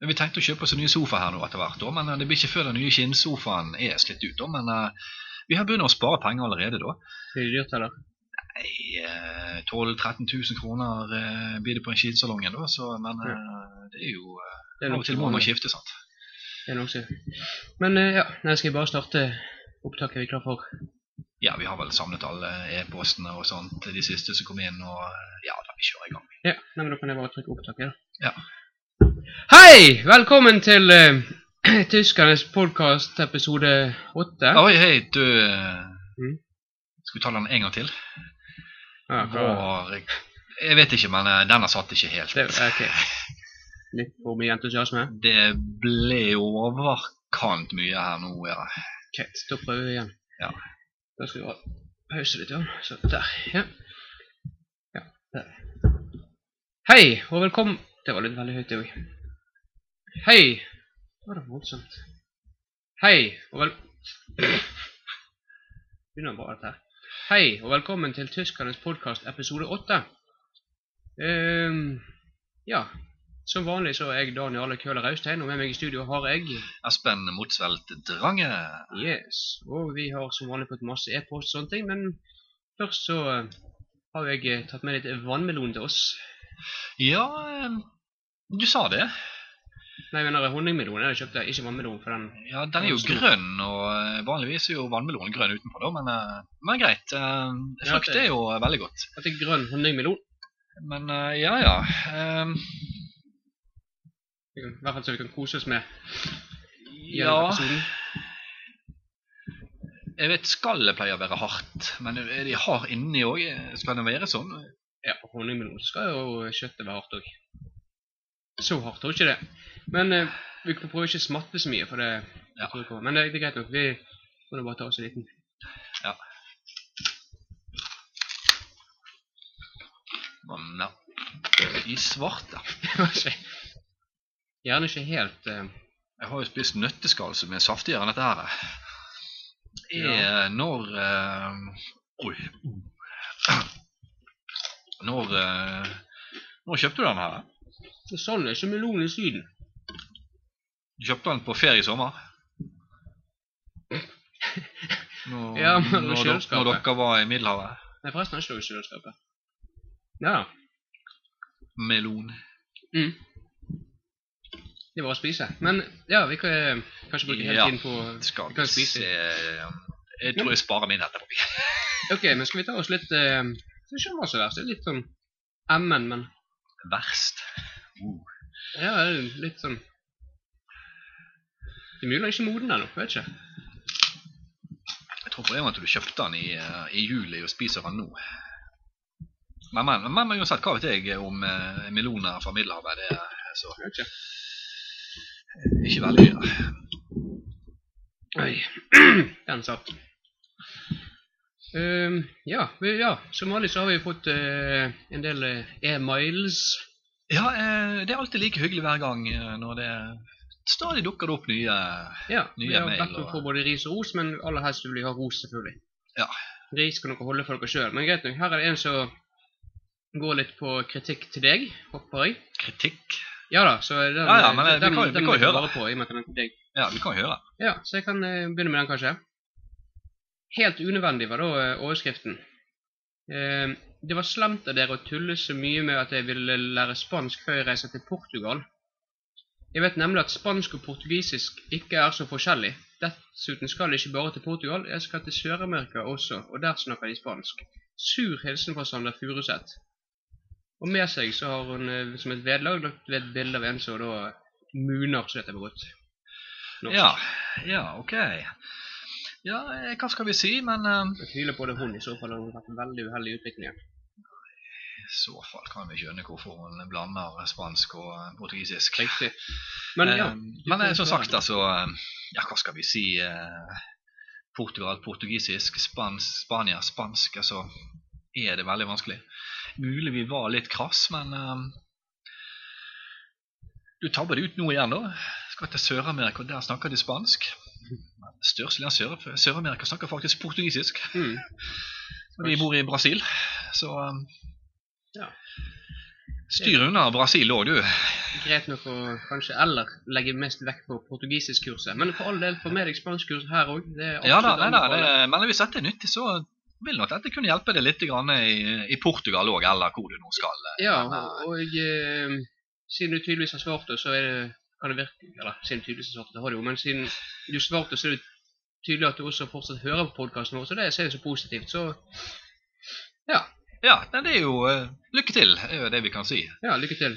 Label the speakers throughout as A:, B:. A: Men Vi tenkte å kjøpe oss en ny sofa her nå etter hvert, da, men eh, det blir ikke før den nye skinnsofaen er slitt ut. da, Men eh, vi har begynt å spare penger allerede da.
B: Blir det dyrt, eller?
A: Nei, eh, 12 000-13 000 kroner eh, blir det på en skinnsalong da, så, men eh, det er jo eh,
B: Det er
A: Av og
B: nok
A: til
B: så
A: må man
B: vanlig.
A: skifte, sant.
B: Det er nok så. Men eh, ja, nei, skal jeg bare starte opptaket vi er klar for?
A: Ja, vi har vel samlet alle e-postene og sånt, de siste som kom inn, og eh, ja da, vi kjører i gang.
B: Ja, nei, men da kan jeg bare trykke opptaket, da.
A: Ja.
B: Hei! Velkommen til eh, Tyskernes podkast episode åtte.
A: Oi, hei, du eh,
B: Mm.
A: Skal vi ta den en gang til?
B: Ja, bra.
A: Vår Jeg vet ikke, men eh, denne satt ikke helt.
B: Det, ok. Litt for mye entusiasme.
A: Det ble jo overkant mye her nå. Ja.
B: Greit, da prøver vi igjen.
A: Ja.
B: Da skal vi bare pause litt. Ja. Så der. Ja. ja der. Hei, og velkommen Det var litt veldig høyt, det òg. Hei. Det var da voldsomt. Hei, og vel... Begynner bra, dette her. Hei, og velkommen til Tyskernes podkast episode åtte. Ehm, ja. Som vanlig så er jeg Daniel Alle Køhler Raustein, og med meg i studio har jeg
A: Espen Motsvelt Drange.
B: Yes. Og vi har som vanlig fått masse e-post og sånne ting, men først så eh, har jeg eh, tatt med litt vannmelon til oss.
A: Ja, eh, du sa det.
B: Nei, jeg mener honningmelon. Jeg kjøpte ikke vannmelon for den.
A: Ja, Den er jo
B: Absolutt.
A: grønn, og eh, vanligvis er jo vannmelonen grønn utenpå, da, men, eh, men greit. eh,
B: Ja,
A: Frukt
B: det-
A: er jo veldig godt.
B: At det er grønn honningmelon.
A: Men eh, ja, ja. eh,
B: Vi kan- I hvert fall så vi kan kose oss med i denne
A: Ja,
B: episoden.
A: jeg vet skallet pleier å være hardt, men er de hard inni òg? Skal det være sånn?
B: Ja, og honningmelon så skal jo kjøttet være hardt òg. Så hardt tror jeg ikke det. Men eh, vi kan prøve ikke å smatte så mye, for det
A: Ja.
B: jeg tror det kommer. Men det, det er greit nok. Vi må nå bare ta oss en liten.
A: Men, ja. I svarte.
B: Gjerne ikke helt eh,
A: Jeg har jo spist nøtteskall som er saftigere enn dette her. Er når eh, Oi. Når eh, Når kjøpte du den her?
B: Sånn er ikke melonen i Syden.
A: Du kjøpte den på ferie i sommer? Når,
B: Ja, men
A: når, dere-
B: kjøleskapet.
A: når dere var i Middelhavet?
B: Nei, forresten har ikke lov i kjøleskapet. Ja,
A: Melon.
B: det er bare å spise. Men ja, vi kan eh, kanskje bruke hele
A: Ja.
B: tiden på
A: Skal vi
B: Kan jeg spise?
A: se eh, Jeg tror jeg sparer min etterpå.
B: Ok, men skal vi ta oss litt eh, Det er ikke var så verst. Det er litt sånn emmen, men
A: Verst. Uh.
B: ja, det er litt sånn Det er mulig den er ikke moden ennå. jeg Vet ikke.
A: Jeg tror på en måte du kjøpte den i, eh, i juli og spiser den nå. Men, men, men, men uansett, hva vet jeg om eh, meloner fra Middelhavet? Det er så
B: Jeg vet ikke.
A: ikke veldig mye.
B: Oi. Den satt. Ehm, ja, vi, ja, som vanlig så har vi fått eh, en del eh, e-miles.
A: Ja, eh, det er alltid like hyggelig hver gang eh, når det stadig dukker det opp nye
B: Ja,
A: Nye
B: vi har
A: mail
B: bedt om
A: og-
B: for både ris og ros, men aller helst vil vi ha ros, selvfølgelig.
A: Ja.
B: Ris kan dere holde for dere sjøl, men greit nok. Her er det en som går litt på kritikk til deg, håper jeg.
A: kritikk.
B: Ja da, så den,
A: Ja, ja, men, eh, vi
B: den,
A: kan- vi
B: den
A: kan
B: må
A: jo høre.
B: vare på, i og med at den er til deg.
A: Ja, vi kan høre.
B: Ja, så jeg kan eh, begynne med den, kanskje. Helt unødvendig var da eh, overskriften. Eh, det var slemt av dere å tulle så mye med at jeg ville lære spansk før jeg reiser til Portugal. Jeg vet nemlig at spansk og portugisisk ikke er så forskjellig. Dessuten skal jeg ikke bare til Portugal, jeg skal til Sør-Amerika også, og der snakker de spansk. Sur hilsen fra Sander Furuseth. Og med seg så har hun eh, som et vedlag lagt ved et bilde av en som da eh, muner, så heter det på godt. norsk.
A: Ja, ja, ok. Ja, eh, hva skal vi si, men eh,
B: Jeg tviler på det er hun, i så fall har hun vært en veldig uheldig i utviklingen.
A: i så fall kan vi skjønne hvorfor hun blander spansk og eh, portugisisk.
B: Riktig. Men ja,
A: Eh, men
B: får
A: eh, som
B: svare.
A: sagt, altså eh, Ja, hva skal vi si? eh, Portugal, portugisisk, spansk, Spania, spansk. Altså er det veldig vanskelig. Mulig vi var litt krass, men eh, Du tabber det ut nå igjen, da. Skal til Sør-Amerika, og der snakker de spansk. Men Størstedelen av Sør- Sør-Amerika snakker faktisk portugisisk.
B: mm.
A: Og de bor i Brasil, så eh,
B: Ja.
A: Styr ehm, unna Brasil òg, du.
B: Greit nok å kanskje eller legge mest vekt på portugisiskkurset. Men for all del, få med deg spanskkurs her òg.
A: Ja da, nei, da, det, men hvis dette er nyttig, så vil nok dette kunne hjelpe deg litt grann i, i Portugal òg, eller hvor du nå skal.
B: Ja, og eh, siden du tydeligvis har svart det, så er det, kan det virke Eller siden du tydeligvis har svart det, det har du jo, men siden du svarte, så er det tydelig at du også fortsatt hører på podkasten vår, så det ser jeg så positivt. Så ja.
A: Ja, nei, det er jo eh, Lykke til, er jo det vi kan si.
B: Ja, lykke til.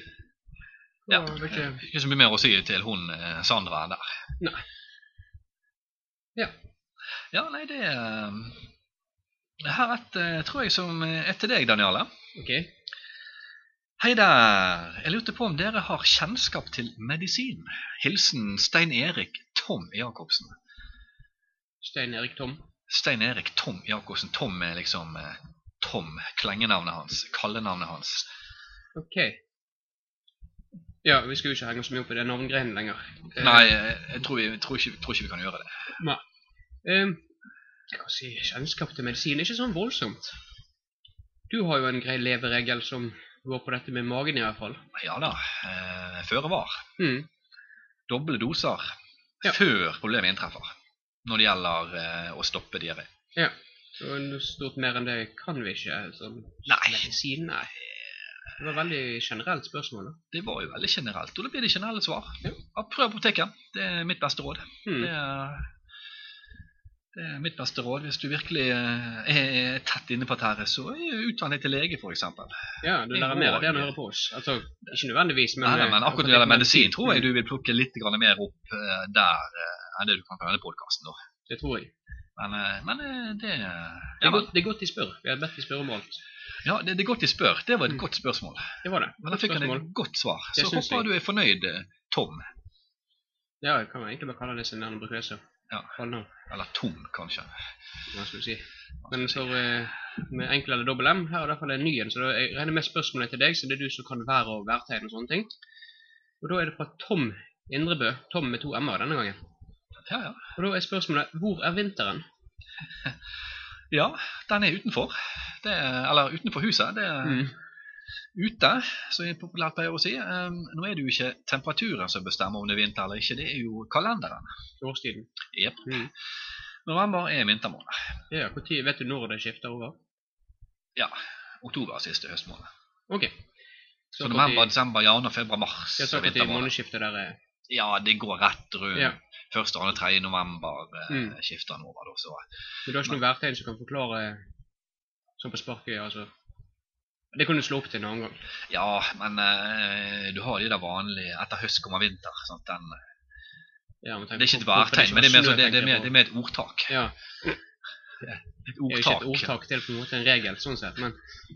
A: Ja.
B: Og
A: Det
B: lykke-
A: er ikke så mye mer å si til hun eh, Sandra der.
B: Nei. Ja.
A: Ja, nei, det eh, Her er et, eh, tror jeg, som er til deg, Daniele.
B: Ok.
A: Hei der! Jeg lurte på om dere har kjennskap til medisin? Hilsen Stein Erik Tom Jacobsen.
B: Stein Erik Tom.
A: Stein Erik Tom Jacobsen. Tom er liksom eh, Tom, klengenavnet hans, kallenavnet hans.
B: Ok. Ja, vi skal jo ikke henge så mye opp i den navngreinen lenger. Eh,
A: Nei, eh, jeg tror, vi, jeg tror, ikke, tror ikke vi kan gjøre det.
B: Eh, jeg kan si kjennskap til medisin er ikke sånn voldsomt. Du har jo en grei leveregel som går på dette med magen i hvert fall.
A: Ja da. Eh, føre var.
B: Mm.
A: Doble doser
B: Ja.
A: før problemet inntreffer. Når det gjelder eh, å stoppe diaré.
B: Så noe stort mer enn det kan vi ikke. Sånn
A: Nei.
B: medisin, nei. Det var veldig generelt spørsmål. da.
A: Det var jo veldig generelt. Og det blir det generelle svar.
B: Ja.
A: Ja, Prøv apoteket. Det er mitt beste råd.
B: Mm.
A: Det er, det er mitt beste råd. Hvis du virkelig eh, er tett inne på dette, så utdann deg til lege, f.eks.
B: Ja, du
A: det
B: lærer
A: må
B: mer av det enn å
A: jeg.
B: høre på oss. Altså, ikke nødvendigvis, men, eh,
A: Men, men akkurat når Eh, altså, det gjelder medisin, tror jeg
B: Mm,
A: du vil plukke litt grann mer opp eh, der eh, enn det du kan på denne podkasten.
B: Det tror jeg.
A: Men, eh, men eh, det
B: Det
A: ja,
B: er,
A: men,
B: godt, det er godt de spør. Vi har bedt de spørre om alt.
A: ja, det, det er godt de spør. Det var
B: Mm.
A: et godt spørsmål.
B: Det var det.
A: Men da fikk han
B: Spørsmål.
A: et godt svar.
B: Det
A: Så
B: syns jeg.
A: håper du er fornøyd, eh, Tom.
B: Ja, jeg kan egentlig bare kalle det sin navn og bruke det som
A: Ja.
B: kallenavn,
A: Eller Tom, kanskje.
B: hva skal du si. Men for eh, med enkel eller dobbel M, her er det i hvert fall en ny en, så da, jeg regner med spørsmålet til deg, så det er du som kan være og værtegn og sånne ting. Og da er det fra Tom Indrebø, Tom med to M-er denne gangen.
A: Ja, ja.
B: Og da er spørsmålet, hvor er vinteren?
A: ja, den er utenfor. Det, er- eller utenfor huset. Det, er-
B: Mm.
A: ute, som jeg populært pleier å si. Ehm, nå er det jo ikke temperaturen som bestemmer om det er vinter eller ikke, det er jo kalenderen.
B: Årstiden.
A: Jep.
B: Mm.
A: November er vintermåned.
B: Ja, hvor tid vet du når det skifter over?
A: Ja. Oktober er siste høstmåned.
B: Ok.
A: Så
B: hvor
A: november,
B: tid-
A: desember, januar, februar, mars
B: Ja, så
A: er
B: akkurat i
A: vintermåned.
B: månedsskiftet der eh. er...
A: Ja, det går rett rundt.
B: Ja.
A: Første, andre, tredje november eh,
B: Mm.
A: skifter den over. Da, så.
B: Men du har ikke noe værtegn som kan forklare sånn på sparket, altså. Det kan du slå opp til en annen gang.
A: Ja, men eh, du har de der vanlige Etter høst kommer vinter. Sant? Den,
B: Ja, men tenk
A: det er ikke
B: på-
A: et
B: hvorfor
A: værtegn,
B: ikke
A: men det er mer,
B: snø,
A: sånn- det, det, er
B: tenker jeg
A: mer,
B: på.
A: det er mer et ordtak.
B: Ja,
A: Et
B: det er jo ikke et
A: ordtak.
B: ordtak til på en måte en regel, sånn sett, men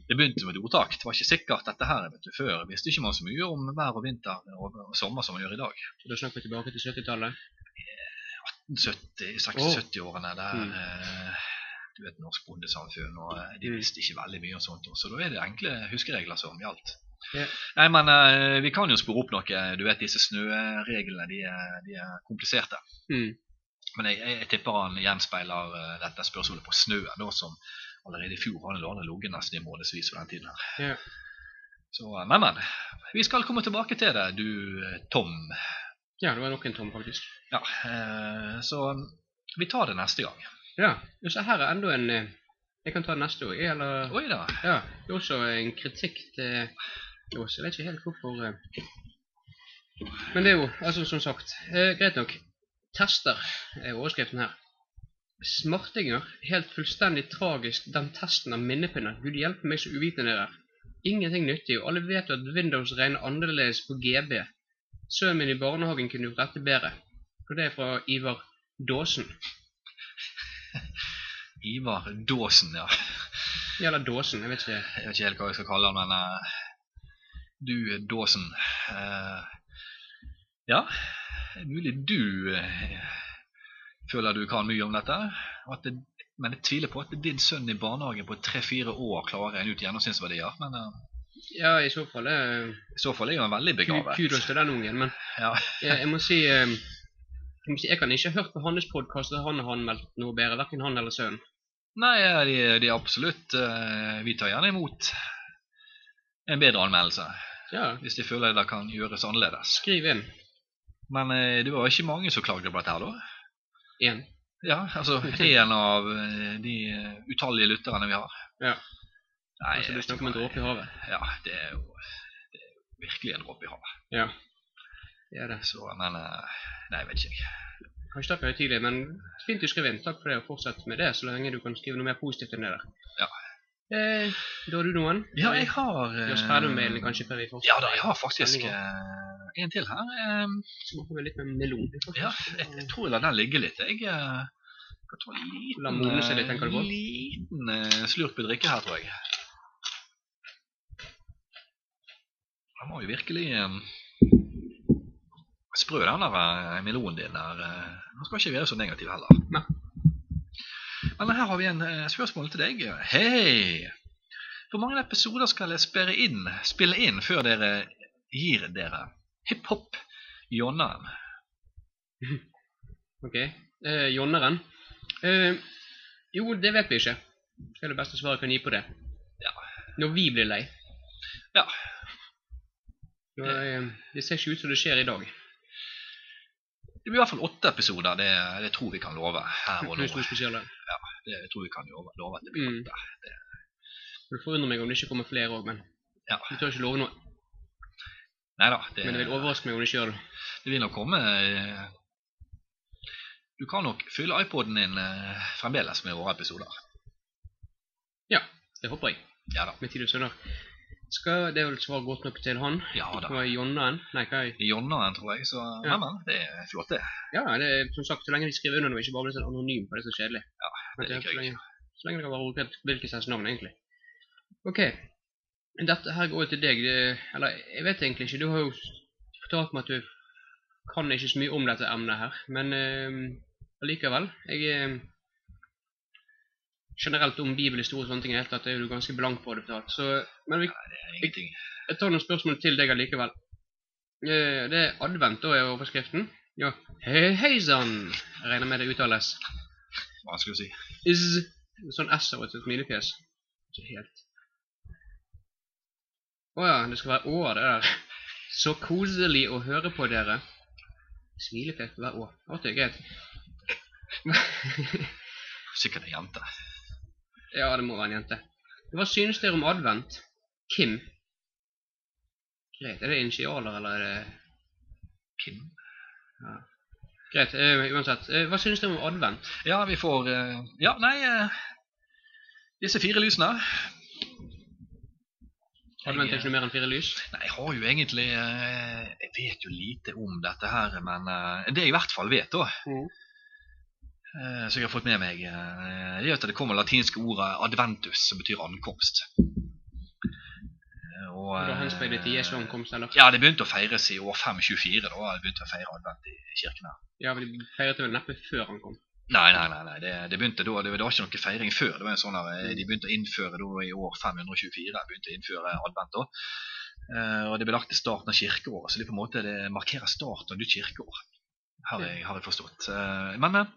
A: Det begynte med et ordtak. Det var ikke sikkert dette her vet du, før. Visste ikke man så mye om vær og vinter og og sommer som man gjør i dag.
B: da snakker vi tilbake til 70-tallet.
A: 70,
B: Åh.
A: 70-årene der
B: Mm.
A: eh, du vet, Norsk bondesamfunn, og eh, de
B: Mm.
A: visste ikke veldig mye om sånt. og Så da er det enkle huskeregler som gjaldt.
B: Ja.
A: Nei, men eh, vi kan jo spore opp noe. Du vet, disse snøreglene de er, de er kompliserte.
B: Mm.
A: Men jeg, jeg, jeg tipper han gjenspeiler eh, dette spørsmålet på snøen, da, som allerede i fjor hadde lånet ligget nesten i månedsvis på den tiden her.
B: Ja.
A: Så, eh, men, men. Vi skal komme tilbake til det, du eh, Tom.
B: Ja, det var nok en tom, faktisk.
A: Ja, eh, så eh, vi tar det neste gang.
B: Ja, og så her er enda en eh, Jeg kan ta den neste år, eller
A: Oi da.
B: Ja, det er også en kritikk til oss. Jeg vet ikke helt hvorfor eh. Men det er jo, altså som sagt, eh, greit nok. Tester er overskriften her. Smartinger, helt fullstendig tragisk, den testen av minnepinner. Gud hjelpe meg så uvitende dere. er. Ingenting nyttig, og alle vet jo at Windows regner annerledes på GB. Sønnen min i barnehagen kunne jo rette bedre. Og det er fra Ivar Dåsen.
A: Ivar Dåsen, ja.
B: Gjelder Dåsen, jeg vet ikke.
A: Jeg vet ikke helt hva jeg skal kalle han, men eh, du eh, Dåsen. eh, ja, det er mulig du eh, føler du kan mye om dette. og At det, men jeg tviler på at din sønn i barnehagen på tre-fire år klarer å regne ut gjennomsnittsverdier. Men eh,
B: Ja, i så fall eh,
A: i så fall er han veldig
B: ku-
A: begavet.
B: Kudos til den ungen, men
A: Ja.
B: jeg, jeg må si eh, jeg, må si, jeg kan ikke ha hørt på hans podkast at han har anmeldt noe bedre, verken han eller sønnen.
A: Nei, eh, de, de er absolutt eh, Vi tar gjerne imot en bedre anmeldelse.
B: Ja,
A: hvis de føler det kan gjøres annerledes.
B: skriv inn.
A: Men eh, det var ikke mange som klagde på dette her, da.
B: Én.
A: Ja, altså én av eh, de eh, utallige lytterne vi har.
B: Ja.
A: Nei,
B: Altså, du
A: jeg vet ikke
B: snakker om en
A: hva-
B: dråpe i havet.
A: Ja, det er jo det er jo virkelig en dråpe i havet.
B: Ja. Det er det.
A: Så, men eh, Nei, jeg vet ikke. jeg.
B: Kanskje takk for høytidelig, men fint du skrev inn. Takk for det, og fortsett med det så lenge du kan skrive noe mer positivt enn det der.
A: Ja.
B: Eh, da har du noen.
A: Ja, jeg har
B: Vi
A: eh,
B: har ferdig med mailen kanskje før vi fortsetter.
A: Ja da, jeg har faktisk
B: Veldig godt.
A: eh, en til her. Eh,
B: Så må vi litt mer melon.
A: Ja, jeg, jeg tror jeg lar den ligge litt. Jeg eh, skal ta en
B: La
A: liten,
B: modne seg litt,
A: eh,
B: tenker du på?
A: liten eh, slurk med drikke her, tror jeg. Den var jo virkelig eh, sprø, den der eh, melonen din der. eh. Den skal ikke være så negativ heller.
B: Nei.
A: Men her har vi en eh, spørsmål til deg. Hei! Hvor mange episoder skal jeg spille inn, spille inn før dere gir dere hiphop-jonneren?
B: Ok. Eh, Jonneren. Eh, jo, det vet vi ikke. Det er det beste svaret jeg kan gi på det.
A: Ja.
B: Når vi blir lei.
A: Ja.
B: Nå, eh, det ser ikke ut som det skjer i dag.
A: Det blir i hvert fall åtte episoder, det, det tror vi kan love her og nå.
B: Pluss to spesialer.
A: Det tror vi kan love, love at det blir
B: Mm.
A: åtte.
B: Det forundrer meg om det ikke kommer flere òg, men
A: Ja.
B: vi tør ikke love noe.
A: Nei da, det,
B: Men det vil overraske meg om det ikke gjør det.
A: det vil nok komme eh, Du kan nok fylle iPoden din eh, fremdeles med våre episoder.
B: Det håper jeg.
A: Ja da.
B: Med tid og sønner. Skal det er vel et svar godt nok til han?
A: Ja da.
B: Hva er Jonneren? Nei, hva er
A: Jonna, tror jeg. Så
B: Ja.
A: men, men, det er flott, det.
B: Ja, det er, som sagt, så lenge vi skriver under noe, ikke bare blir sånn anonym, for det er så kjedelig. Ja,
A: det liker jeg.
B: så lenge, så lenge det kan være ordrett hvilket slags navn, egentlig. Ok, dette her går til deg, det, eller jeg vet egentlig ikke, du har jo fortalt meg at du kan ikke så mye om dette emnet her, men eh, allikevel, jeg eh, generelt om bibelhistorie og sånne ting, helt at det er jo ganske blank på det fortalt, så, men vi,
A: Det er ingenting.
B: jeg tar noen spørsmål til deg allikevel. Eh, Det er advent, da er overskriften. Ja, hei, hei sann! Jeg Regner med det uttales.
A: Vanskelig å si.
B: Is, sånn S og et smilefjes. Ikke helt. Å ja, det skal være Å, det der. Så koselig å høre på dere. Smilefjes skal være Å. Artig, greit.
A: Sikkert en jente.
B: Ja, det må være en jente. Hva synes dere om advent? Kim? Greit, er det initialer, eller er det
A: Kim?
B: Greit, eh, uansett. Eh, hva synes dere om advent?
A: Ja, vi får eh, Ja, nei eh, Disse fire lysene.
B: Advent
A: Jeg,
B: er
A: eh,
B: ikke noe mer enn fire lys.
A: Nei, jeg har jo egentlig eh, Jeg vet jo lite om dette her, men eh, det jeg i hvert fall vet, da
B: Mhm.
A: eh, Så jeg har fått med meg eh, Det er at det kommer latinske ordet 'adventus', som betyr ankomst. Eh, Og,
B: Og da
A: eh,
B: henspeilet til Jesu ankomst, eller?
A: Ja, det begynte å feires i år 524. Da de begynte å feire advent i kirken her.
B: Ja, men de feiret vel neppe før han kom.
A: Nei, nei, nei, nei. Det, det begynte da, det, var- det var ikke noe feiring før. Det var en sånn der, eh, De begynte å innføre da i år 524 begynte å innføre advent. da. Eh, og Det ble lagt til starten av kirkeåret, så det på en måte det markerer starten av nytt kirkeår. Har jeg, har jeg forstått. Eh, men, eh,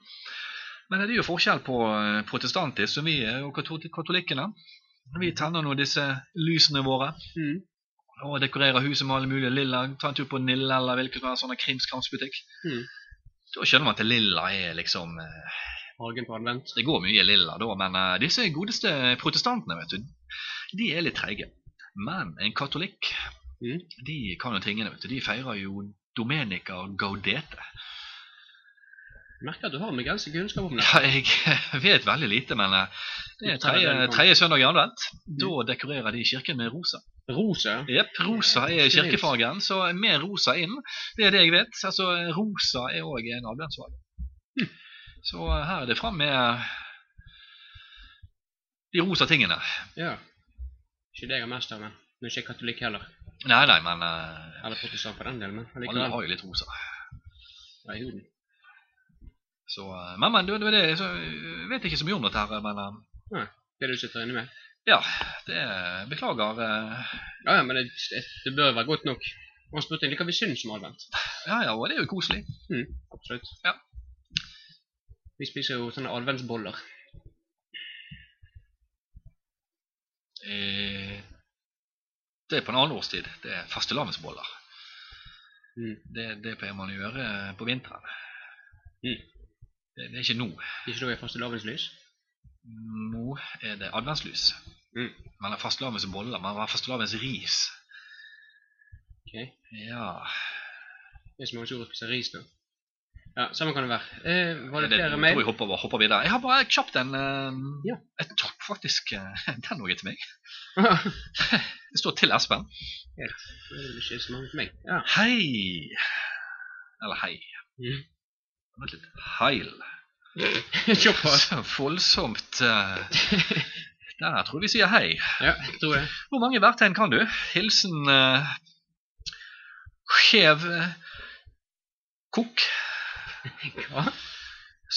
A: men det er jo forskjell på eh, protestantisk, som vi er, og kato- katolikkene. Vi tenner nå disse lysene våre
B: Mm.
A: og dekorerer huset med alle mulige lilla. Ta en tur på Nilla eller hvilken som helst sånn krimskramsbutikk.
B: Mm.
A: Da skjønner man at lilla er liksom eh,
B: Hagen på advent.
A: det går mye lilla da, men eh, disse godeste protestantene, vet du, de er litt treige. Men en katolikk,
B: Mm.
A: de kan jo tingene, vet du. De feirer jo Domenica Gaudete.
B: Merker at du har begrenset kunnskap om det.
A: Ja, jeg vet veldig lite, men eh, det er tredje, tredje søndag i advent. Da dekorerer de kirken med rosa.
B: Rosa?
A: Jepp, rosa er
B: Ikke minst.
A: kirkefargen, så mer rosa inn. Det er det jeg vet. Altså, rosa er òg en adventsfarge. Så eh, her er det fram med de rosa tingene.
B: Ja. Ikke det jeg har mest av, men nå er ikke jeg katolikk heller.
A: Nei, nei, men eh,
B: Eller protestant for den delen, men
A: alle
B: allikevel.
A: har jo litt rosa.
B: Ja, i huden.
A: Så, eh, men, men det var det, så, jeg vet ikke så mye om dette her, men eh,
B: Det du sitter inne med.
A: ja, det beklager. eh,
B: Ja, ja, men det, det, det bør være godt nok. Og han spurte egentlig hva vi syns om advent.
A: Ja, ja, og det er jo koselig.
B: Absolutt.
A: Ja.
B: Vi spiser jo sånne adventsboller.
A: Eh, Det er på en annen årstid. Det er fastelavnsboller.
B: Mm.
A: Det, det pleier man å gjøre eh, på vinteren.
B: Mm.
A: Det, det er ikke nå.
B: Ikke noe fastelavnslys?
A: Nå er det adventslys.
B: Mm.
A: Man har fastelavnsboller, man har fastelavnsris.
B: Ok.
A: Ja
B: Det er så mange som spiser ris nå. Ja, samme kan det være. Eh, var det
A: Jeg
B: flere
A: tror
B: mail?
A: jeg hopper, over- hopper videre. Jeg har bare kjapt en eh,
B: Ja.
A: Jeg tok faktisk eh, den også til meg.
B: det
A: Det står til Espen.
B: er vel ikke så mange til meg. Ja.
A: Hei. Eller hei.
B: Mhm.
A: Vent litt. Heil.
B: Såpass.
A: Så voldsomt eh, Der tror jeg vi sier hei.
B: Ja, jeg tror det.
A: Hvor mange værtegn kan du? Hilsen eh, skjev eh, kokk.
B: Hva?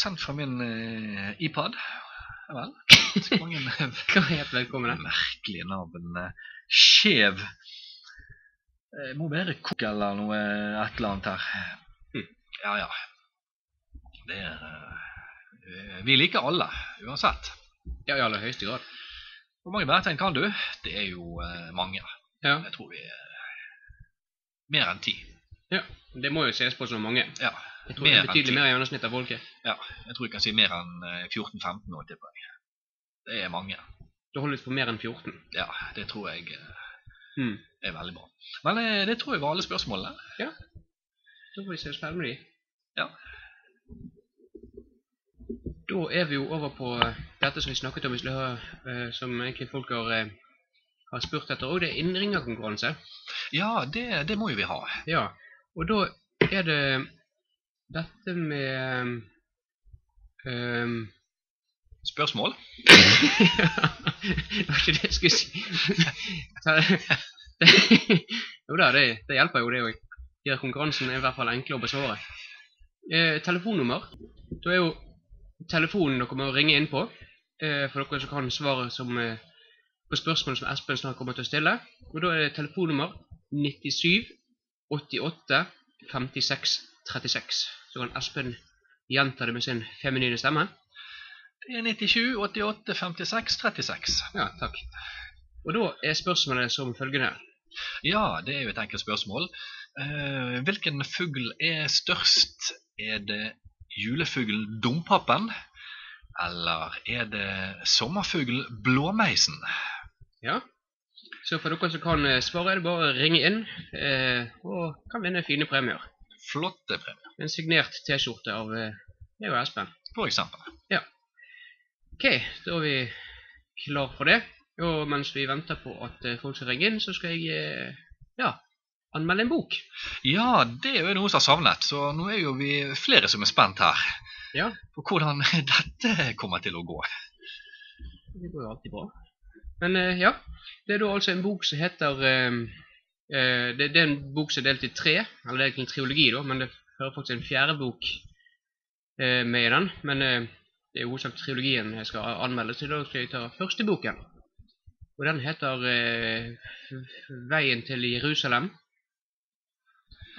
A: Sendt fra min eh, iPad. Ja vel. Så mange
B: Hva heter vedkommende?
A: merkelige navn. eh, Skjev Eh, Må være kokk eller noe eh, et eller annet her.
B: Hm.
A: Ja ja. Det er eh, Vi liker alle, uansett.
B: Ja, i aller høyeste grad.
A: Hvor mange værtegn kan du? Det er jo eh, mange.
B: Ja,
A: Jeg tror vi er mer enn ti.
B: det må jo ses på som mange.
A: Ja,
B: Jeg tror det er
A: enn ti.
B: betydelig mer i gjennomsnitt av folket.
A: Ja, jeg tror jeg kan si mer enn eh, 14-15 nå, tipper jeg. Det er mange.
B: Du holder ut for mer enn 14.
A: Ja, det tror jeg eh,
B: Mm.
A: er veldig bra. Men eh, det tror jeg var alle spørsmålene.
B: Da får vi se oss ferdig med de.
A: Ja.
B: Da er vi jo over på eh, dette som vi snakket om i stad, eh, som egentlig folk har, eh, har spurt etter òg. Det er innringerkonkurranse.
A: Ja, det, det må jo vi ha.
B: Ja. Og da er det dette med ehm,
A: Spørsmål?
B: det var ikke det jeg skulle si. Ta- det- Jo da, det, det hjelper jo det òg. Gjør konkurransen er i hvert fall enklere å besvare. Eh, telefonnummer. Da er jo telefonen dere må ringe inn på. Eh, for dere som kan svaret som, eh, på spørsmål som Espen snart kommer til å stille. Og da er det telefonnummer 97 88 56 36. Så kan Espen gjenta det med sin feminine stemme.
A: Det er 97 88 56 36.
B: Ja, takk. Og da er spørsmålet som følgende.
A: Ja, det er jo et enkelt spørsmål. Eh, hvilken fugl er størst? Er det julefuglen dompapen? Eller er det sommerfuglen blåmeisen?
B: Så for dere som kan eh, svare, er det bare å ringe inn eh, og kan vinne fine premier.
A: Flotte premier,
B: En signert T-skjorte av eh, meg og Espen.
A: for eksempel.
B: Ok, da er vi klar for det. Og mens vi venter på at eh, folk skal ringe inn, så skal jeg eh, ja, anmelde en bok.
A: Ja, det er jo noe som har savnet, så nå er jo vi flere som er spent her.
B: Ja.
A: På hvordan dette kommer til å gå.
B: Det går jo alltid bra. Men eh, ja, det er da altså en bok som heter eh, eh, det, det er en bok som er delt i tre, eller det er egentlig en triologi, da, men det hører faktisk en fjerde bok eh, med i den. Men eh, det er jo hovedsak triologien jeg skal a- anmelde, så da skal jeg ta første boken. Og den heter eh, Veien til Jerusalem.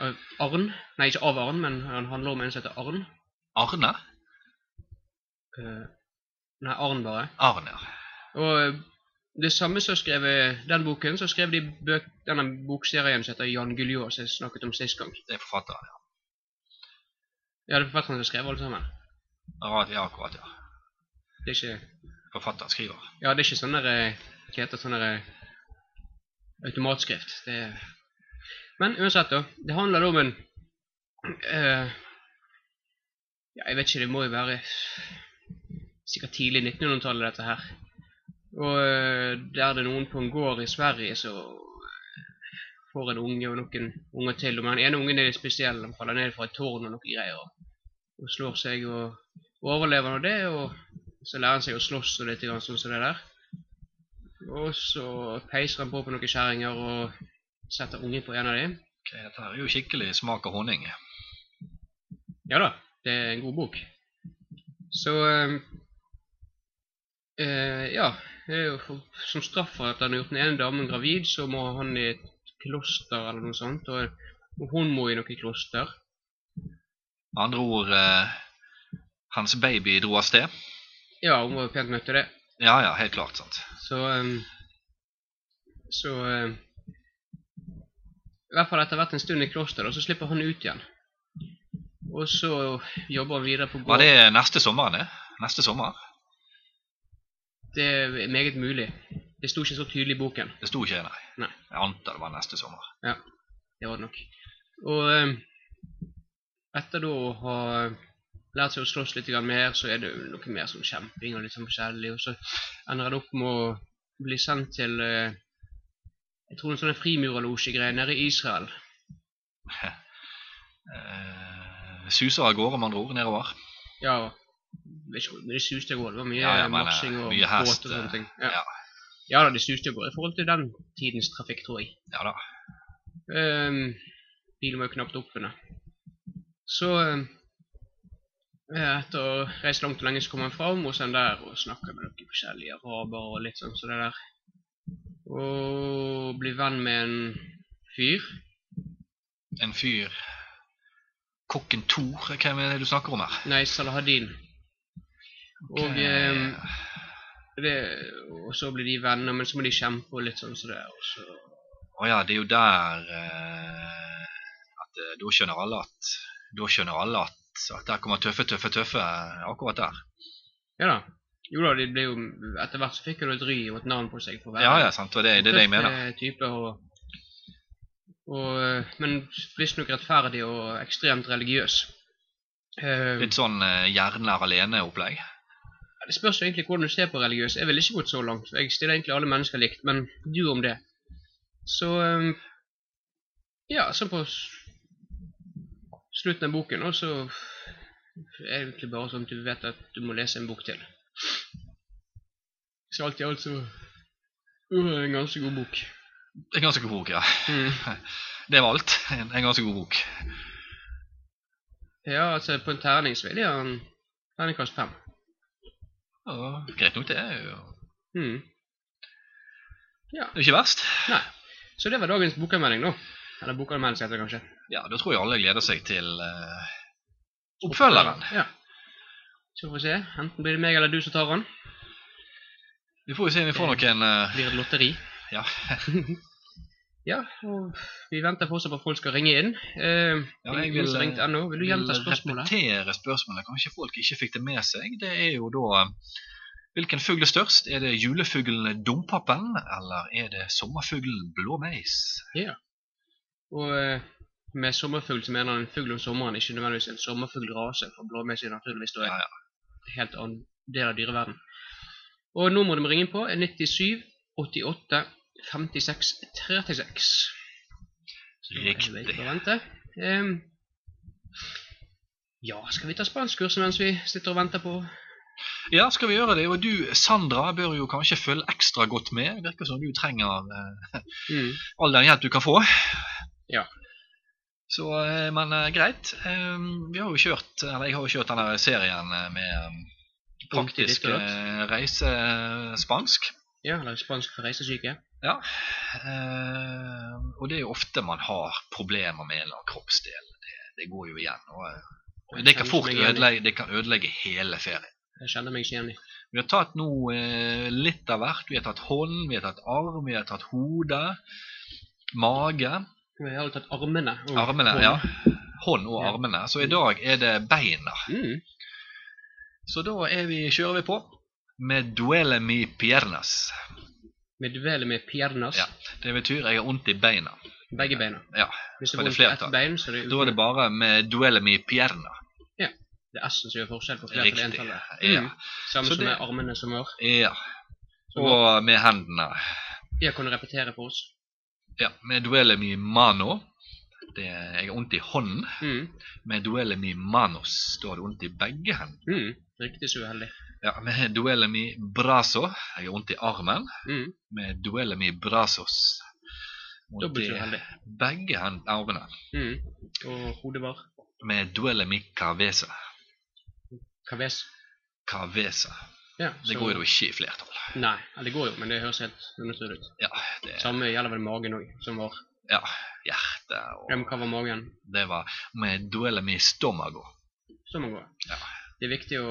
B: Av Arn. Nei, ikke av Arn, men han handler om en som heter Arn.
A: Arne?
B: Eh, nei, Arn bare.
A: Arne, ja.
B: Og eh, det samme som skrev eh, den boken, så skrev de bøk, denne bokserien som heter Jan Guillou, som jeg snakket om sist gang.
A: Det er forfatteren. ja.
B: Ja, det er forfatteren som skrev alle sammen.
A: Akkurat, ja, akkurat, ja.
B: Det er ikke,
A: Forfatteren skriver.
B: ja, det er ikke sånn der eh, Hva heter sånn der eh, automatskrift? Det er Men uansett, da. Det handler da om en eh, Ja, jeg vet ikke, det må jo være sikkert tidlig 1900-tallet, dette her. Og eh, der det er noen på en gård i Sverige, så eh, får en unge og noen unger til. Og den ene ungen er litt spesiell, han faller ned fra et tårn og noe greier. Og, og slår seg og overlever nå det, og så lærer han seg å slåss og litt grann sånn som det der. Og så peiser han på på noen kjerringer og setter ungen på en av dem.
A: Ok, dette her er jo skikkelig smak av honning.
B: Ja da, det er en god bok. Så eh, eh, Ja. eh, for- Som straff for at han har gjort den ene damen gravid, så må han i et kloster eller noe sånt. Og, og hun må i noe kloster.
A: Med andre ord, eh, hans baby dro av sted.
B: Ja, hun var jo pent nødt til det.
A: Ja, ja, helt klart, sant.
B: Så eh, Så eh, I hvert fall etter hvert en stund i klosteret, og så slipper han ut igjen. Og så jobber han videre på
A: Var
B: gård.
A: det neste sommer, det? Neste sommer?
B: Det er meget mulig. Det sto ikke så tydelig i boken.
A: Det sto ikke, nei.
B: Nei.
A: Jeg antar det var neste sommer.
B: Det var det nok. Og eh, etter da å ha lært seg å slåss litt grann mer, så er det jo noe mer sånn kjemping og litt sånn forskjellig. Og så ender han opp med å bli sendt til eh, jeg tror en sånn frimurerlosjegreie nede i Israel.
A: Eh, suser av gårde, med andre ord, nedover.
B: Ja, jeg vet ikke hvor mye det suste og går. Det var mye
A: Ja, jeg mener,
B: marsjing og
A: mye hest, eh,
B: båt og sånne ting.
A: ja.
B: Ja. ja da, det suste og går i forhold til den tidens trafikk, tror jeg.
A: Ja da.
B: Um, bilen var jo knapt oppfunnet. Så um, eh, etter å ha reist langt og lenge, så kom han fram hos han der og snakket med noen forskjellige araber og litt sånn som det der. Og blir venn med en fyr.
A: En fyr Kokken Thor, eh, hvem er det du snakker om her?
B: Nei, Salahadin. Og,
A: Ok.
B: ehm, Det, og så blir de venner, men så må de kjempe og litt sånn som det. er, Og så,
A: Å ja, det er jo der eh, at eh, Da skjønner alle at Da skjønner alle at, at der kommer tøffe, tøffe, tøffe eh, akkurat der.
B: ja da. Jo da, de ble jo, etter hvert så fikk han jo et ry og et navn på seg for å være
A: Ja, ja, sant. Og det, det er det jeg mener.
B: Tøff, eh, Type og, og, eh, men visstnok rettferdig og ekstremt religiøs. Eh,
A: Litt sånn eh, hjernen er alene-opplegg.
B: det spørs jo egentlig hvordan du ser på religiøs. Jeg ville ikke gått så langt. for Jeg stiller egentlig alle mennesker likt, men du om det. Så eh, Ja, så på s- slutten av boken nå, så er det egentlig bare sånn at du vet at du må lese en bok til. Så alt i alt så uh, en ganske god bok.
A: En ganske god bok, ja.
B: Mm.
A: Det var alt. En, en ganske god bok.
B: Ja, altså på en terning så vil jeg ha en terningkast fem.
A: Ja, greit nok, det er jo
B: Mm.
A: det er ikke verst.
B: Nei. Så det var dagens bokanmelding, da. Eller bokanmeldelse, heter det kanskje.
A: Ja, Da tror jeg alle gleder seg til eh, oppfølgeren.
B: Ja. Så får vi se. Enten blir det meg eller du som tar den.
A: Vi får jo se om vi får noen eh,
B: Blir det lotteri.
A: Ja,
B: Ja, og vi venter fortsatt på at folk skal ringe inn. Eh,
A: Ja,
B: ingen
A: jeg vil,
B: som har ringt ennå. Vil du
A: vil
B: gjenta spørsmålet?
A: repetere spørsmålet. Kanskje folk ikke fikk det med seg. Det er jo da eh, Hvilken fugl er størst? Er det julefuglen dompapen, eller er det sommerfuglen blåmeis?
B: Og eh, med sommerfugl så mener han en fugl om sommeren, ikke nødvendigvis en sommerfuglrase, for blåmeis er naturligvis da en
A: Ja,
B: helt annen del av dyreverden. Og nå må du ringe på 97 88 56 36. Så da er det
A: Riktig.
B: bare å vente. Ehm, ja, skal vi ta spanskkurset mens vi sitter og venter på
A: Ja, skal vi gjøre det? Og du, Sandra, bør jo kanskje følge ekstra godt med. Virker som du trenger eh,
B: mm.
A: all den hjelp du kan få.
B: Ja.
A: Så, eh, men eh, greit. Eh, Vi har jo kjørt, eller jeg har jo kjørt denne serien eh, med eh,
B: Punkt i
A: praktisk
B: diskret.
A: eh, reisespansk.
B: Ja, eller spansk for reisesyke.
A: Ja. eh, Og det er jo ofte man har problemer med en eller annen kroppsdel. Det, det går jo igjen. Og, eh, og det kan fort ødelegge, det kan ødelegge hele ferien.
B: Jeg kjenner meg ikke igjen i.
A: Vi har tatt nå eh, litt av hvert. Vi har tatt hånd, vi har tatt arm, vi har tatt hode, mage,
B: Vi har jo tatt armene. og
A: armene,
B: hånden.
A: ja. Hånd og
B: Ja.
A: armene. Så i dag er det beina.
B: Mm.
A: Så da er vi, kjører vi på med duele mi piernas.
B: Med duellet med piernas.
A: Ja. Det betyr jeg har vondt i beina.
B: Begge beina.
A: Ja,
B: Hvis det
A: For det
B: er vondt i ett
A: flertall.
B: bein, så er det,
A: Da er det bare med duele mi pierna.
B: det er S-en som gjør forskjell på flertallet og
A: Riktig.
B: entallet.
A: Ja.
B: Mm. Samme
A: Så
B: som
A: det-
B: med armene som var.
A: ja.
B: Så nå-
A: Og med hendene.
B: Jeg kan repetere for oss.
A: Ja, med duele mi mano. Det, jeg har vondt i hånden.
B: Mm.
A: Med duele mi manos. Da har du vondt i begge hendene.
B: Mm. Riktig så uheldig.
A: Ja, med duellen mi braso Jeg har vondt i armen.
B: Mm.
A: Med duellen mi brasos Vondt
B: Dobbelt
A: i
B: så uheldig.
A: begge hen- armene.
B: Mm. Og hodet var
A: Med duellen mi cavesa.
B: kaves.
A: Cavesa.
B: Ja,
A: Det
B: så-
A: går jo ikke i flertall.
B: Nei, ja, det går jo, men det høres helt undertrykt ut.
A: Ja, det er
B: Samme gjelder vel magen òg, som var
A: ja, hjerte og
B: Hvem hva var magen?
A: Det var med duellen mi stomago.
B: Så man går.
A: Ja.
B: Det er viktig å,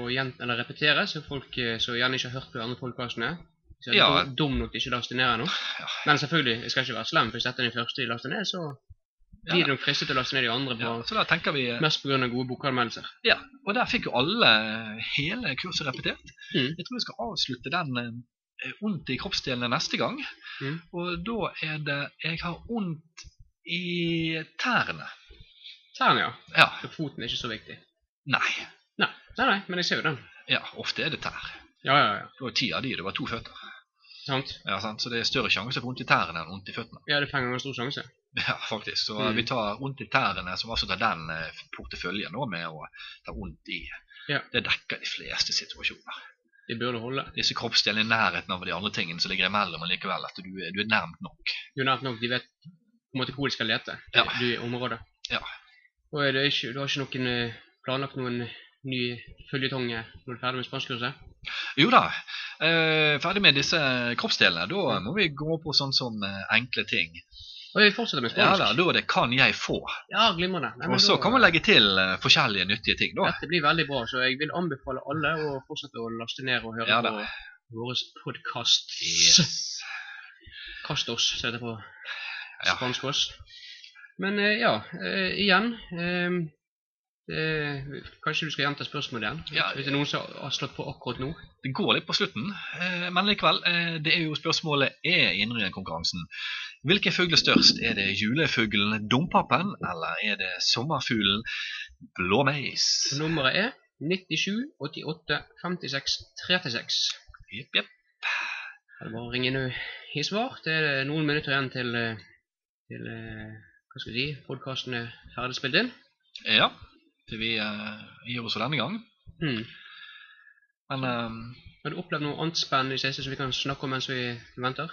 B: å gjen, eller repetere, så folk eh, som gjerne ikke har hørt på de andre podkastene, Så jeg er
A: Ja.
B: dum- dum nok til ikke å laste ned ennå.
A: Ja.
B: Men selvfølgelig, jeg skal ikke være slem, for hvis dette er den første jeg laster ned, så blir
A: Ja.
B: det nok fristet til å laste ned de andre, på,
A: Ja, så da tenker vi eh,
B: mest på grunn av gode bokanmeldelser.
A: Ja, og der fikk jo alle hele kurset repetert.
B: Mm.
A: Jeg tror vi skal avslutte den eh, ondt i kroppsdelene neste gang.
B: Mm.
A: Og da er det Jeg har ondt i tærne.
B: Tærne, ja.
A: Ja.
B: Så foten er ikke så viktig.
A: Nei.
B: Nei, nei, nei men jeg ser jo den.
A: Ja, ofte er det tær.
B: Ja, ja, ja.
A: Det var ti av de, det var to føtter.
B: Sant?
A: Ja, sant? Så det er større sjanse for vondt i tærne enn vondt i føttene.
B: Ja, det er fem ganger stor sjanse.
A: Ja, faktisk. Så
B: Mm.
A: vi tar vondt i tærne, som altså tar den eh, porteføljen nå med å ta vondt i.
B: Ja.
A: Det dekker de fleste situasjoner.
B: Det burde holde.
A: Disse kroppsdelene i nærheten av de andre tingene som ligger imellom, og likevel at du, er- du er nærmt nok.
B: Jo nært nok de vet på en måte hvor de skal lete
A: Ja.
B: du, i området.
A: Ja.
B: Og er det ikke, du har ikke noen eh, planlagt noen ny føljetong eh, når du er ferdig med spanskkurset?
A: Jo da. eh, ferdig med disse kroppsdelene. Da
B: Mm.
A: må vi gå på sånn som eh, enkle ting.
B: Og vi fortsetter med
A: Ja da,
B: spansk.
A: da er det 'kan jeg få'.
B: Ja, glimrende. Nei, men
A: Og så
B: da-
A: kan man legge til eh, forskjellige nyttige ting, da.
B: Dette blir veldig bra, så jeg vil anbefale alle å fortsette å laste ned og høre
A: Ja da.
B: på vår podkast.
A: Yes.
B: Kast oss, som det heter på
A: Ja.
B: spansk oss. Men eh, ja, eh, igjen eh, det, Kanskje du skal gjenta spørsmålet igjen?
A: Ja.
B: Hvis det er noen som har slått på akkurat nå?
A: Det går litt på slutten, eh, men likevel. eh, Det er jo spørsmålet er innridenkonkurransen. Hvilken fugl er størst? Er det julefuglen dompapen, eller er det sommerfuglen blåmeis?
B: Så Nummeret er 97 88 56 36.
A: Jepp, jepp.
B: Det er bare å ringe inn i svar. Det er noen minutter igjen til, eh, til eh, hva skal vi si, podkasten er ferdig spilt inn.
A: Ja. Så vi eh, gir oss for denne gang.
B: Hmm.
A: Men eh,
B: Har du opplevd noe annet spennende i siste som vi kan snakke om mens vi venter?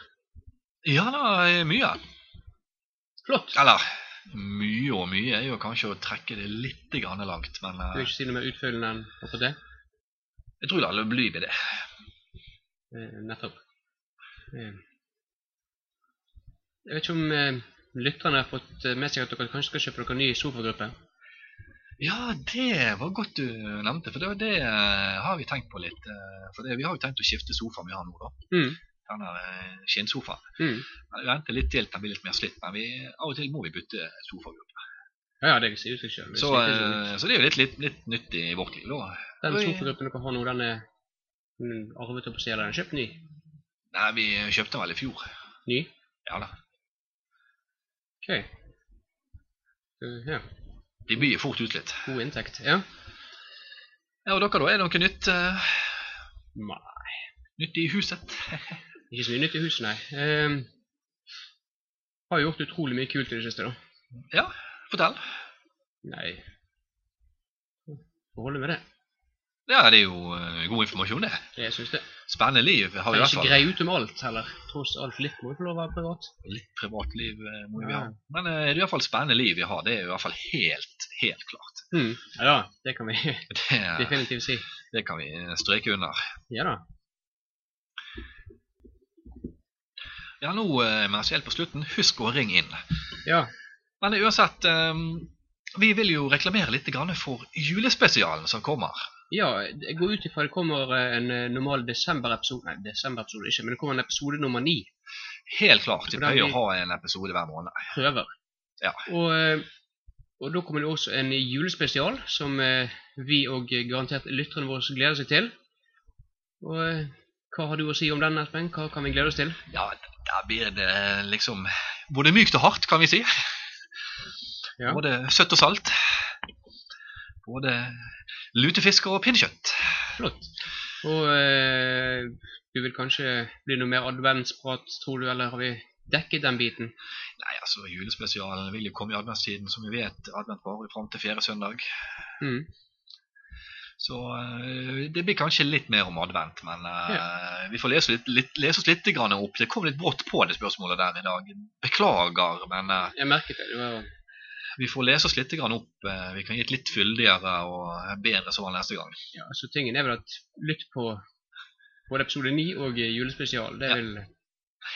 A: Ja da, eh, mye.
B: Flott!
A: Eller mye og mye er jo kanskje å trekke det litt grann langt, men
B: Du vil
A: eh,
B: ikke si noe mer utfyllende enn akkurat det?
A: jeg tror det alle blir ved det.
B: Eh, nettopp. Eh. Jeg vet ikke om eh, lytterne har fått eh, med seg at dere kanskje skal kjøpe dere ny sofagruppe?
A: Ja, det var godt du nevnte, for det, det eh, har vi tenkt på litt. eh, For det, vi har jo tenkt å skifte sofaen vi har nå, da.
B: Mm.
A: Den der eh, skinnsofaen.
B: Mm.
A: Vi venter litt til den blir litt mer slitt, men vi, av og til må vi bytte sofagruppe.
B: Ja, ja, det sier du ikke.
A: Så, eh, så det er jo litt, litt, litt nytt i vårt liv, da.
B: Den
A: Oi.
B: sofagruppen dere har nå, den er den arvet opp på siden, den er kjøpt ny?
A: Nei, vi kjøpte den vel i fjor.
B: Ny?
A: Ja da.
B: Ok. Eh, ja,
A: De byr fort ut litt.
B: god inntekt. Ja.
A: Ja, og dere, da? Er det noe nytt, eh,
B: Ma.
A: nytt i huset?
B: Ikke så mye nytt i huset, nei. Ehm, har gjort utrolig mye kult i det siste, da.
A: Ja, fortell.
B: Nei. Får holde med det.
A: Ja, det er jo eh, god informasjon, det.
B: Det jeg syns det.
A: Spennende liv har vi
B: Jeg
A: i
B: er
A: hvert
B: ikke
A: fall.
B: grei ut om alt heller. Tross alt litt må jo få lov å være privat.
A: Litt privatliv eh, må vi
B: Ja.
A: ha. Men eh, det er i hvert fall spennende liv vi har. Det er i hvert fall helt, helt klart.
B: Mm. Ja da, det kan vi
A: Det,
B: definitivt si.
A: det kan vi eh, streke under.
B: Ja da.
A: Ja, nå eh, mens vi er helt på slutten, husk å ringe inn.
B: Ja.
A: Men uansett, eh, vi vil jo reklamere litt grann for julespesialen som kommer.
B: ja, jeg går ut ifra det kommer eh, en eh, normal desemberepisode Nei, desemberepisode ikke, men det kommer en episode nummer ni.
A: Helt klart. Vi
B: Hvordan
A: pleier å
B: vi-
A: ha en episode hver måned.
B: Prøver.
A: Ja.
B: Og, eh, og da kommer det også en julespesial som eh, vi og eh, garantert lytterne våre gleder seg til. Og eh, hva har du å si om den, Espen? Hva kan vi glede oss til?
A: Ja, der blir det liksom både mykt og hardt, kan vi si.
B: Ja.
A: Både søtt og salt. Både lutefisk og pinnekjøtt.
B: Flott. Og eh, du vil kanskje bli noe mer adventsprat, tror du, eller har vi dekket den biten?
A: Nei, altså, julespesialen vil jo komme i adventstiden, som vi vet. Advent varer jo fram til fjerde søndag.
B: Mm.
A: Så eh, det blir kanskje litt mer om advent, men eh, vi får lese, litt, litt, lese oss litt grann opp. Det kom litt brått på det spørsmålet der i dag. Beklager, men eh,
B: Jeg merket det. det var,
A: vi får lese oss litt grann opp. Eh, vi kan gi et litt fyldigere og bedre svar neste gang.
B: ja, så tingen er vel at lytt på både episode 9 og eh, julespesial. Det
A: Ja.
B: vil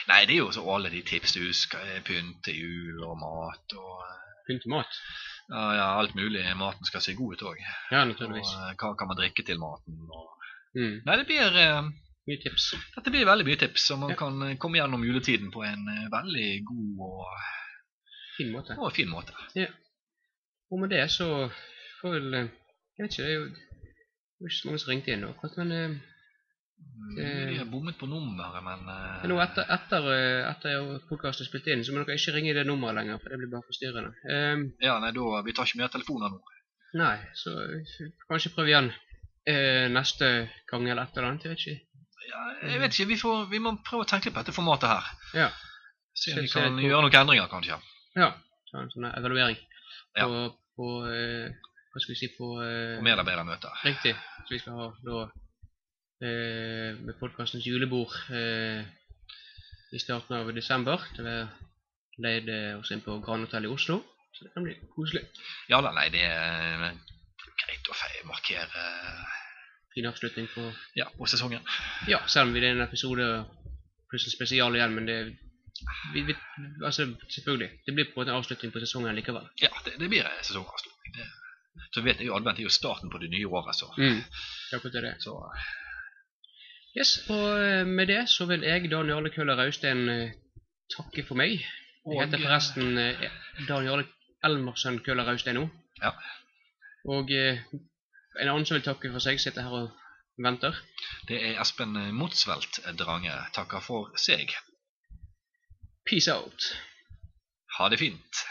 A: Nei, det er jo så alle de tips du husker. eh, Pynt til jul og mat og eh,
B: pynte mat.
A: ja, ja, alt mulig. Maten skal se god ut òg.
B: Ja,
A: Og
B: naturligvis.
A: eh, hva kan man drikke til maten? Og...
B: Mm.
A: Nei, det blir eh,
B: Mye tips.
A: Dette blir veldig mye tips, og man
B: Ja.
A: kan eh, komme gjennom juletiden på en eh, veldig god og,
B: Fin måte.
A: og fin måte.
B: Og med det så får vel eh, Jeg vet ikke, det er jo det var ikke så mange som ringte inn nå. akkurat, Men eh,
A: Mm,
B: Det-
A: De har bommet på nummeret, men eh,
B: men Eh. nå etter, etter, eh, etter podkasten er spilt inn, så må dere ikke ringe i det nummeret lenger, for det blir bare forstyrrende. Eh,
A: ja, nei, da, Vi tar ikke mer telefoner nå.
B: nei, så eh, kanskje prøv igjen eh, neste gang eller et eller annet. Jeg vet ikke.
A: Ja,
B: Mm.
A: jeg vet ikke, vi, får, vi må prøve å tenke litt på dette formatet her.
B: Ja.
A: Se
B: Se-
A: om vi
B: se
A: kan
B: litt på-
A: gjøre noen endringer, kanskje.
B: Ja. Ta en sånn evaluering
A: Ja.
B: på, på eh, Hva skal vi si på eh,
A: På medarbeidermøter.
B: Riktig. Så vi skal ha da eh, med podkastens julebord eh, i starten av desember. Det er leid eh, oss inn på Grand Hotel i Oslo. Så det kan bli koselig.
A: Ja da, nei, det er eh, greit å fei- markere
B: Fin avslutning på
A: ja, på sesongen.
B: Ja, selv om vi det er en episode pluss en spesial igjen, men det vi, vi, Altså, selvfølgelig. Det blir på en måte avslutning på sesongen likevel.
A: Ja, det, det blir en sesongavslutning. Det. Så vet jeg jo advent er jo starten på det nye året, så,
B: Mm. Akkurat det.
A: så
B: Yes, og eh, med det så vil jeg, Dan Jarle Køller Austein, eh, takke for meg.
A: Og-
B: Jeg heter forresten eh, Dan Jarle Elmersen Køller Austein nå.
A: Ja.
B: Og eh, en annen som vil takke for seg, sitter her og venter.
A: eh, Det er Espen Motsvelt Drange takker for seg.
B: Peace out.
A: Ha det fint.